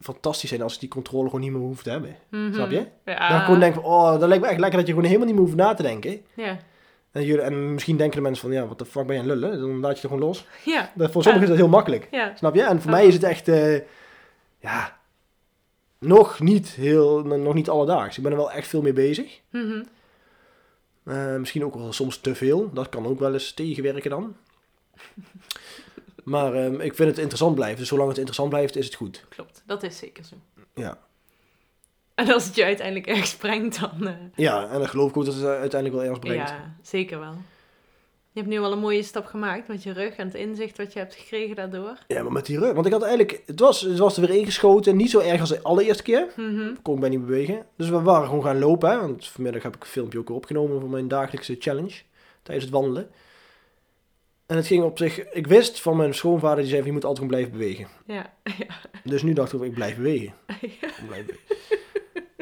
[SPEAKER 1] fantastisch zijn als ik die controle gewoon niet meer hoef te hebben.
[SPEAKER 2] Mhm.
[SPEAKER 1] Snap je?
[SPEAKER 2] Ja.
[SPEAKER 1] Dan gewoon denk van, oh, dat lijkt me echt lekker dat je gewoon helemaal niet meer hoeft na te denken.
[SPEAKER 2] ja.
[SPEAKER 1] En, jullie, en misschien denken de mensen van, ja, wat de fuck ben je aan het lullen? Dan laat je het gewoon los.
[SPEAKER 2] Ja,
[SPEAKER 1] Dat, voor sommigen is dat heel makkelijk.
[SPEAKER 2] ja.
[SPEAKER 1] Snap je? En voor
[SPEAKER 2] Ja.
[SPEAKER 1] mij is het echt, eh, ja, nog niet heel, nog niet alledaags. Ik ben er wel echt veel mee bezig.
[SPEAKER 2] Mhm.
[SPEAKER 1] Eh, misschien ook wel soms te veel. Dat kan ook wel eens tegenwerken dan. Maar ehm, ik vind het interessant blijven. Dus zolang het interessant blijft, is het goed.
[SPEAKER 2] Klopt, dat is zeker zo.
[SPEAKER 1] Ja.
[SPEAKER 2] En als het je uiteindelijk ergens brengt, dan... eh,
[SPEAKER 1] Ja, en dan geloof ik ook dat het eh, uiteindelijk wel ergens brengt.
[SPEAKER 2] Ja, zeker wel. Je hebt nu al een mooie stap gemaakt met je rug en het inzicht wat je hebt gekregen daardoor.
[SPEAKER 1] Ja, maar met die rug. Want ik had eigenlijk, het was, het was er weer ingeschoten. Niet zo erg als de allereerste keer.
[SPEAKER 2] Mhm.
[SPEAKER 1] kon ik mij niet bewegen. Dus we waren gewoon gaan lopen. Hè? Want vanmiddag heb ik een filmpje ook weer opgenomen voor mijn dagelijkse challenge. Tijdens het wandelen. En het ging op zich... Ik wist van mijn schoonvader, die zei van, je moet altijd gewoon blijven bewegen.
[SPEAKER 2] Ja, <laughs> ja,
[SPEAKER 1] Dus nu dacht ik, ik
[SPEAKER 2] <laughs>
[SPEAKER 1] blijf bewegen. Ik blijf bewegen.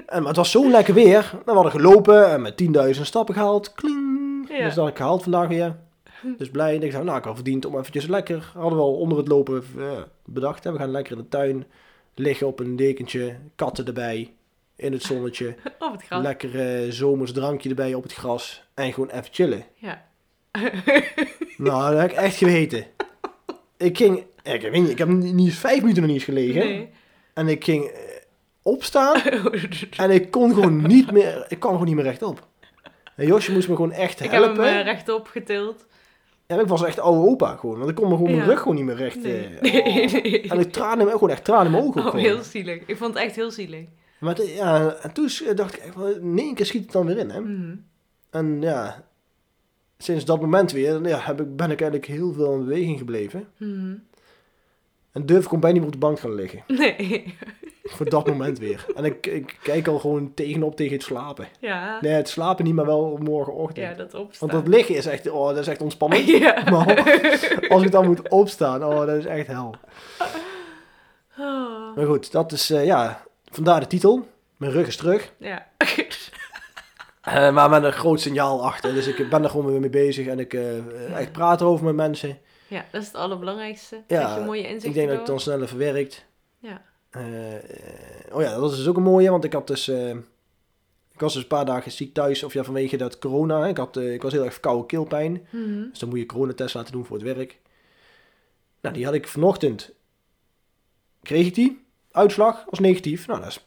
[SPEAKER 1] En, maar het was zo lekker weer. We hadden gelopen en met 10.000 stappen gehaald. Kling.
[SPEAKER 2] Ja.
[SPEAKER 1] Dus dat had ik gehaald vandaag weer. Dus blij. Ik dacht, nou, ik had verdiend om eventjes lekker... Hadden we al onder het lopen eh, bedacht. Hè? We gaan lekker in de tuin liggen op een dekentje. Katten erbij. In het zonnetje.
[SPEAKER 2] op het gras.
[SPEAKER 1] Lekker eh, zomers drankje erbij op het gras. En gewoon even chillen.
[SPEAKER 2] Ja.
[SPEAKER 1] <laughs> nou, dat heb ik echt geweten. Ik ging... Ik, weet niet, ik heb niet niet eens vijf minuten nog niet eens gelegen.
[SPEAKER 2] Nee.
[SPEAKER 1] En ik ging eh,
[SPEAKER 2] <laughs>
[SPEAKER 1] opstaan. en ik kon gewoon niet meer... Ik kwam gewoon niet meer rechtop. En Josje moest me gewoon echt
[SPEAKER 2] Ik heb hem
[SPEAKER 1] helpen.
[SPEAKER 2] eh, rechtop getild.
[SPEAKER 1] En ik was echt oude opa gewoon. Want ik kon me gewoon mijn
[SPEAKER 2] Ja.
[SPEAKER 1] rug gewoon niet meer recht...
[SPEAKER 2] Nee.
[SPEAKER 1] eh,
[SPEAKER 2] <laughs> Nee,
[SPEAKER 1] oh.
[SPEAKER 2] nee.
[SPEAKER 1] En ik tranen in mijn, gewoon echt tranen in mijn ogen. ook eh.
[SPEAKER 2] Oh,
[SPEAKER 1] gewoon.
[SPEAKER 2] heel zielig. Ik vond het echt heel zielig.
[SPEAKER 1] Maar het- ja, en toen eh, dacht ik echt van... In één keer schiet het dan weer in, hè.
[SPEAKER 2] Mhm.
[SPEAKER 1] En ja, sinds dat moment weer ja, heb ik, ben ik eigenlijk heel veel in beweging gebleven.
[SPEAKER 2] Mhm.
[SPEAKER 1] En durf komt bijna niet meer op de bank gaan liggen.
[SPEAKER 2] <laughs> Nee.
[SPEAKER 1] Voor dat moment weer. En ik, ik kijk al gewoon tegenop tegen het slapen.
[SPEAKER 2] Ja.
[SPEAKER 1] Nee, het slapen niet, maar wel op morgenochtend.
[SPEAKER 2] Ja, dat opstaan.
[SPEAKER 1] Want dat liggen is echt, oh, dat is echt ontspanning. <laughs>
[SPEAKER 2] <laughs> Ja.
[SPEAKER 1] Maar als ik dan moet opstaan, oh, dat is echt hel.
[SPEAKER 2] <laughs> Oh,
[SPEAKER 1] Maar goed, dat is, eh, ja, vandaar de titel. Mijn rug is terug.
[SPEAKER 2] ja. <laughs>
[SPEAKER 1] Eh, maar met een groot signaal achter. Dus ik ben er gewoon weer mee bezig en ik eh, echt praat erover met mensen.
[SPEAKER 2] ja, dat is het allerbelangrijkste.
[SPEAKER 1] Ja,
[SPEAKER 2] dat je mooie inzichten
[SPEAKER 1] Ik denk dat ik
[SPEAKER 2] door-
[SPEAKER 1] dan sneller verwerkt.
[SPEAKER 2] Ja.
[SPEAKER 1] Eh, eh, oh ja, dat was dus ook een mooie, want ik had dus... eh, ik was dus een paar dagen ziek thuis, of ja, vanwege dat corona. Ik, had, eh, ik was heel erg koude keelpijn.
[SPEAKER 2] Mhm.
[SPEAKER 1] Dus dan moet je coronatest laten doen voor het werk. Nou, die had ik vanochtend. Kreeg ik die. Uitslag was negatief. Nou, dat is,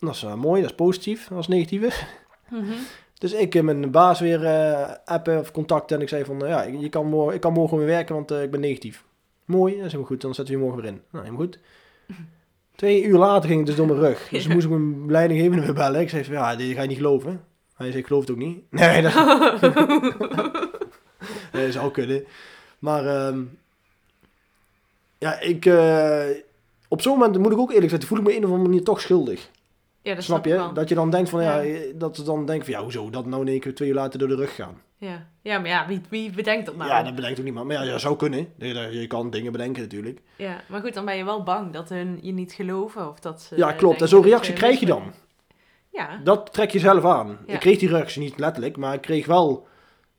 [SPEAKER 1] dat is eh, mooi, dat is positief. Dat was negatieve.
[SPEAKER 2] Mhm.
[SPEAKER 1] Dus ik heb mijn baas weer eh, appen of contacten en ik zei van, eh, ja, ik, je kan morgen, ik kan morgen weer werken, want eh, ik ben negatief. Mooi, dat is helemaal goed, dan zetten we je morgen weer in. Nou, helemaal goed. Twee uur later ging het dus door mijn rug. Dus moest ik mijn leidinggevende weer bellen. Ik zei van, ja, dit ga je niet geloven. Hij zei, ik geloof het ook niet. <laughs> Nee, dat, nee, zou kunnen. Maar, ehm, ja, ik, eh, op zo'n moment moet ik ook eerlijk zijn, voel ik me een of andere manier toch schuldig.
[SPEAKER 2] ja, dat
[SPEAKER 1] snap je?
[SPEAKER 2] wel.
[SPEAKER 1] Dat je dan denkt van, ja,
[SPEAKER 2] Ja.
[SPEAKER 1] dat ze dan denken van, ja, hoezo, dat nou in één keer twee uur later door de rug gaan.
[SPEAKER 2] Ja. ja, maar ja, wie, wie bedenkt dat nou?
[SPEAKER 1] Ja, dat bedenkt ook niemand. Maar ja, dat zou kunnen. Je, je- je kan dingen bedenken natuurlijk.
[SPEAKER 2] Ja, maar goed, dan ben je wel bang dat hun je niet geloven of dat ze...
[SPEAKER 1] ja,
[SPEAKER 2] eh,
[SPEAKER 1] klopt. En
[SPEAKER 2] denken
[SPEAKER 1] zo'n
[SPEAKER 2] dat
[SPEAKER 1] reactie krijg je dan.
[SPEAKER 2] misbruik- Ja,
[SPEAKER 1] Dat trek je zelf aan.
[SPEAKER 2] Ja.
[SPEAKER 1] Ik kreeg die reactie niet letterlijk, maar ik kreeg wel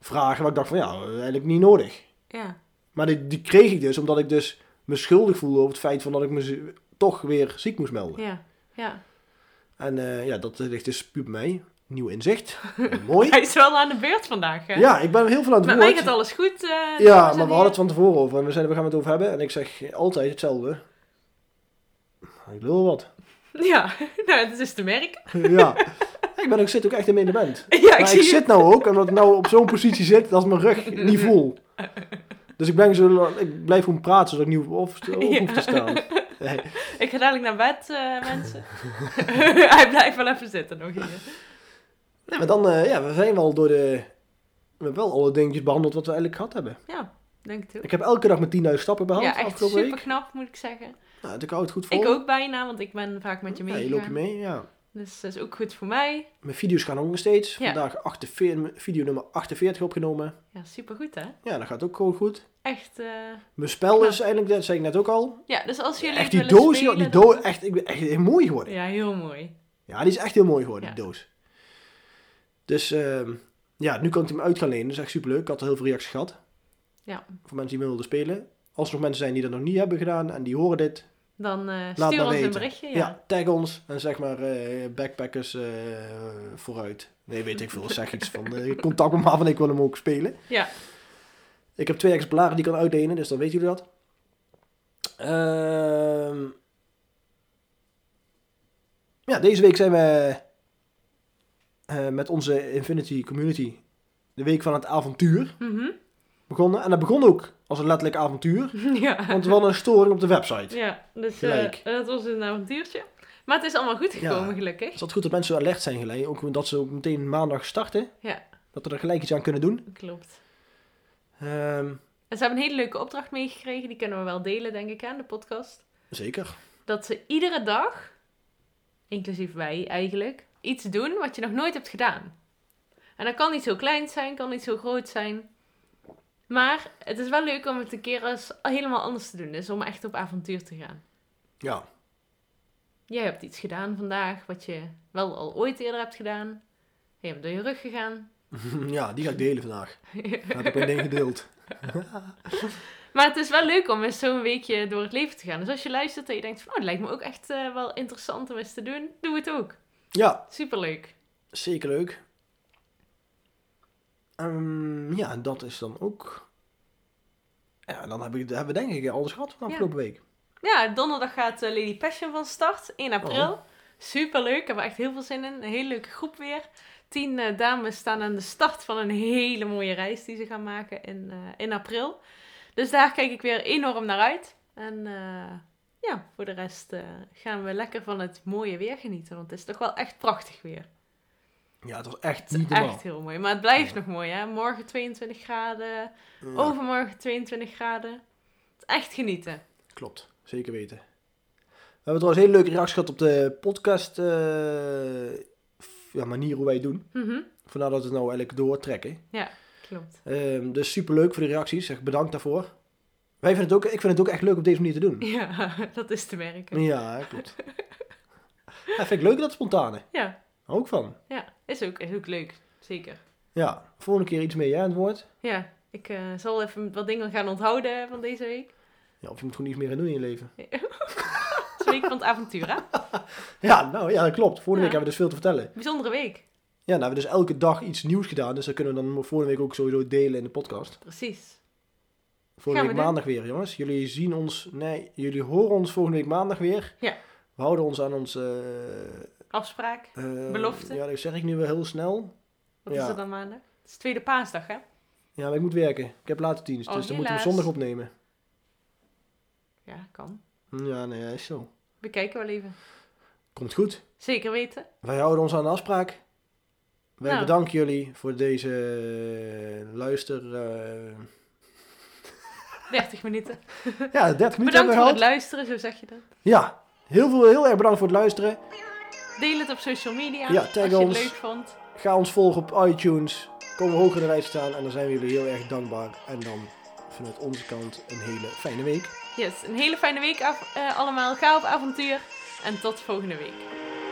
[SPEAKER 1] vragen waar ik dacht van ja, eigenlijk niet nodig.
[SPEAKER 2] ja,
[SPEAKER 1] Maar die, die kreeg ik dus omdat ik dus me schuldig voelde over het feit van dat ik me z- toch weer ziek moest melden.
[SPEAKER 2] ja, ja.
[SPEAKER 1] En eh, ja, dat ligt dus puur bij mij. Nieuw
[SPEAKER 2] <laughs>
[SPEAKER 1] inzicht. Mooi.
[SPEAKER 2] Hij is wel aan de beurt vandaag, hè?
[SPEAKER 1] Ja, ik ben heel veel aan het
[SPEAKER 2] Met
[SPEAKER 1] woord.
[SPEAKER 2] mij gaat alles goed. eh, dames en
[SPEAKER 1] Ja, maar we
[SPEAKER 2] heren.
[SPEAKER 1] hadden het van tevoren over. En we zeiden, we gaan het over hebben. En ik zeg altijd hetzelfde. Ik lul wat. <laughs>
[SPEAKER 2] Ja, <laughs> nou, dat is te merk.
[SPEAKER 1] Ja. Ik ben ook, zit ook echt in mijn element.
[SPEAKER 2] <laughs> Ja, ik
[SPEAKER 1] maar
[SPEAKER 2] zie
[SPEAKER 1] ik
[SPEAKER 2] <laughs> het.
[SPEAKER 1] zit nou ook, omdat ik nou op zo'n positie zit, dat is mijn
[SPEAKER 2] <laughs>
[SPEAKER 1] rug niet voel. Dus ik, ben zo, ik blijf gewoon praten, zodat ik niet op, op,
[SPEAKER 2] <laughs>
[SPEAKER 1] op hoef te staan. Nee.
[SPEAKER 2] Ik ga dadelijk naar bed, eh, mensen. <laughs> Hij blijft wel even zitten nog hier.
[SPEAKER 1] Nee, maar dan, eh, ja, we zijn wel door de... We hebben wel alle dingetjes behandeld wat we eigenlijk gehad hebben.
[SPEAKER 2] Ja, denk het ook.
[SPEAKER 1] Ik heb elke dag mijn 10.000 stappen behaald
[SPEAKER 2] Ja, echt
[SPEAKER 1] afgelopen
[SPEAKER 2] super
[SPEAKER 1] week.
[SPEAKER 2] knap, moet ik zeggen.
[SPEAKER 1] Nou, ik hou het goed vol.
[SPEAKER 2] Ik ook bijna, want ik ben vaak met je
[SPEAKER 1] Ja, je
[SPEAKER 2] mee.
[SPEAKER 1] loopt je mee, ja.
[SPEAKER 2] dus dat is ook goed voor mij.
[SPEAKER 1] Mijn video's gaan ook nog steeds.
[SPEAKER 2] Ja.
[SPEAKER 1] Vandaag 48, video nummer 48 opgenomen.
[SPEAKER 2] Ja, super goed, hè?
[SPEAKER 1] Ja, dat gaat ook gewoon goed.
[SPEAKER 2] Echt. eh,
[SPEAKER 1] Mijn spel
[SPEAKER 2] Ja.
[SPEAKER 1] is eigenlijk, dat zei ik net ook al.
[SPEAKER 2] Ja, dus als jullie. het
[SPEAKER 1] echt die
[SPEAKER 2] willen
[SPEAKER 1] doos, joh, die
[SPEAKER 2] spelen,
[SPEAKER 1] doos,
[SPEAKER 2] dan-
[SPEAKER 1] echt, ik ben echt heel mooi geworden.
[SPEAKER 2] Ja, heel mooi.
[SPEAKER 1] Ja, die is echt heel mooi geworden,
[SPEAKER 2] Ja.
[SPEAKER 1] die doos. Dus ehm, ja, nu kan ik hem uit gaan lenen. Dat is echt superleuk. Ik had al heel veel reacties gehad.
[SPEAKER 2] Ja.
[SPEAKER 1] Voor mensen die me wilden spelen. Als er nog mensen zijn die dat nog niet hebben gedaan en die horen dit.
[SPEAKER 2] Dan eh,
[SPEAKER 1] Laat
[SPEAKER 2] stuur ons
[SPEAKER 1] maar
[SPEAKER 2] een
[SPEAKER 1] weten.
[SPEAKER 2] berichtje.
[SPEAKER 1] Ja,
[SPEAKER 2] Ja.
[SPEAKER 1] tag ons en zeg maar eh, backpackers eh, vooruit. Nee, weet ik veel. Zeg iets van eh, contact met me af en ik wil hem ook spelen.
[SPEAKER 2] Ja.
[SPEAKER 1] Ik heb twee exemplaren die ik kan uitlenen, dus dan weten jullie dat. Ehm ja, deze week zijn we eh, met onze Infinity Community de week van het avontuur
[SPEAKER 2] Mhm. <laughs>
[SPEAKER 1] begonnen. En dat begon ook als een letterlijk avontuur,
[SPEAKER 2] ja.
[SPEAKER 1] want we hadden een storing op de website.
[SPEAKER 2] Ja, dus eh,
[SPEAKER 1] Gelijk.
[SPEAKER 2] dat was een avontuurtje. Maar het is allemaal goed gekomen,
[SPEAKER 1] Ja.
[SPEAKER 2] gelukkig.
[SPEAKER 1] Het is altijd goed dat mensen zo alert zijn gelijk, ook dat ze ook meteen maandag starten.
[SPEAKER 2] Ja.
[SPEAKER 1] Dat we er gelijk iets aan kunnen doen.
[SPEAKER 2] Klopt.
[SPEAKER 1] Ehm,
[SPEAKER 2] En ze hebben een hele leuke opdracht meegekregen. Die kunnen we wel delen, denk ik, aan de podcast.
[SPEAKER 1] zeker.
[SPEAKER 2] Dat ze iedere dag, inclusief wij eigenlijk, iets doen wat je nog nooit hebt gedaan. En dat kan niet zo klein zijn, kan niet zo groot zijn. Maar het is wel leuk om het een keer eens helemaal anders te doen. Dus om echt op avontuur te gaan.
[SPEAKER 1] Ja. <laughs>
[SPEAKER 2] Jij hebt iets gedaan vandaag wat je wel al ooit eerder hebt gedaan. Je bent door je rug gegaan. <laughs>
[SPEAKER 1] ja, die ga ik delen vandaag. Dat heb ik meteen gedeeld.
[SPEAKER 2] Maar het is wel leuk om eens zo'n weekje door het leven te gaan. Dus als je luistert en je denkt van, oh, dat lijkt me ook echt eh, wel interessant om eens te doen, doe het ook.
[SPEAKER 1] Ja,
[SPEAKER 2] Superleuk.
[SPEAKER 1] Zeker leuk. Ehm, ja, dat is dan ook. Ja, dan heb ik, hebben we denk ik alles gehad van
[SPEAKER 2] Ja.
[SPEAKER 1] afgelopen week.
[SPEAKER 2] Ja, donderdag gaat eh, Lady Passion van start, 1 april.
[SPEAKER 1] Oh.
[SPEAKER 2] Superleuk, daar hebben we echt heel veel zin in. Een hele leuke groep weer. Tien eh, dames staan aan de start van een hele mooie reis die ze gaan maken in, eh, in april. Dus daar kijk ik weer enorm naar uit. En eh, ja, voor de rest eh, gaan we lekker van het mooie weer genieten. Want het is toch wel echt prachtig weer.
[SPEAKER 1] Ja, het was echt
[SPEAKER 2] Het is
[SPEAKER 1] niet normaal.
[SPEAKER 2] echt heel mooi. Maar het blijft nog mooi, hè? Morgen 22 graden,
[SPEAKER 1] Ja,
[SPEAKER 2] overmorgen 22 graden. Het is echt genieten.
[SPEAKER 1] Klopt. Zeker weten. We hebben trouwens een hele leuke reactie gehad op de podcast eh, f- ja, manier hoe wij het doen.
[SPEAKER 2] Mhm,
[SPEAKER 1] Vandaar dat we het nou eigenlijk doortrekken.
[SPEAKER 2] Klopt.
[SPEAKER 1] Ehm, dus superleuk voor de reacties. Zeg bedankt daarvoor. Wij vinden het ook, ik vind het ook echt leuk op deze manier te doen.
[SPEAKER 2] <laughs> Ja, dat is te merken.
[SPEAKER 1] Ja, klopt. ja, vind ik leuk dat spontane.
[SPEAKER 2] Ja,
[SPEAKER 1] Hou Ook van.
[SPEAKER 2] ja. Is, ook, is ook leuk. Zeker.
[SPEAKER 1] Ja, volgende keer iets meer jij aan het woord.
[SPEAKER 2] Ja, ik eh, zal even wat dingen gaan onthouden van deze week.
[SPEAKER 1] Ja, of je moet gewoon iets meer gaan doen in je leven.
[SPEAKER 2] Het is een week van het avontuur, hè?
[SPEAKER 1] Ja, nou ja, dat klopt.
[SPEAKER 2] Ja.
[SPEAKER 1] Vorige week hebben we dus veel te vertellen.
[SPEAKER 2] Bijzondere week.
[SPEAKER 1] Ja, nou, we hebben dus elke dag iets nieuws gedaan. Dus dat kunnen we dan volgende week ook sowieso delen in de podcast.
[SPEAKER 2] Precies.
[SPEAKER 1] Volgende
[SPEAKER 2] Gaan
[SPEAKER 1] week
[SPEAKER 2] we doen.
[SPEAKER 1] maandag weer, jongens. Jullie zien ons, nee, jullie horen ons volgende week maandag weer.
[SPEAKER 2] Ja.
[SPEAKER 1] We houden ons aan onze... eh,
[SPEAKER 2] Afspraak.
[SPEAKER 1] eh,
[SPEAKER 2] Belofte.
[SPEAKER 1] Ja, dat zeg ik nu wel heel snel.
[SPEAKER 2] Wat
[SPEAKER 1] Ja.
[SPEAKER 2] is er dan maandag? Het is tweede paasdag, hè?
[SPEAKER 1] Ja, maar ik moet werken. Ik heb later dienst,
[SPEAKER 2] Oh,
[SPEAKER 1] dus dan moeten we
[SPEAKER 2] helaas.
[SPEAKER 1] zondag opnemen.
[SPEAKER 2] Ja, kan.
[SPEAKER 1] Ja, nee, ja, is zo.
[SPEAKER 2] We kijken wel even.
[SPEAKER 1] Komt goed.
[SPEAKER 2] Zeker weten.
[SPEAKER 1] Wij houden ons aan de afspraak. Wij
[SPEAKER 2] Nou.
[SPEAKER 1] bedanken jullie voor deze eh, luister... eh,
[SPEAKER 2] 30 minuten.
[SPEAKER 1] ja, 30 minuten hebben we
[SPEAKER 2] Bedankt voor het
[SPEAKER 1] gehad.
[SPEAKER 2] luisteren, zo zeg je dat.
[SPEAKER 1] Ja, heel, veel, heel erg bedankt voor het luisteren.
[SPEAKER 2] Deel het op social media
[SPEAKER 1] Ja,
[SPEAKER 2] als je
[SPEAKER 1] tag
[SPEAKER 2] het
[SPEAKER 1] ons.
[SPEAKER 2] leuk vond.
[SPEAKER 1] Ga ons volgen op iTunes. Komen we hoog in de lijst staan en dan zijn we jullie heel erg dankbaar. En dan vanuit onze kant een hele fijne week.
[SPEAKER 2] Yes, een hele fijne week af, eh, allemaal. Ga op avontuur en tot volgende week.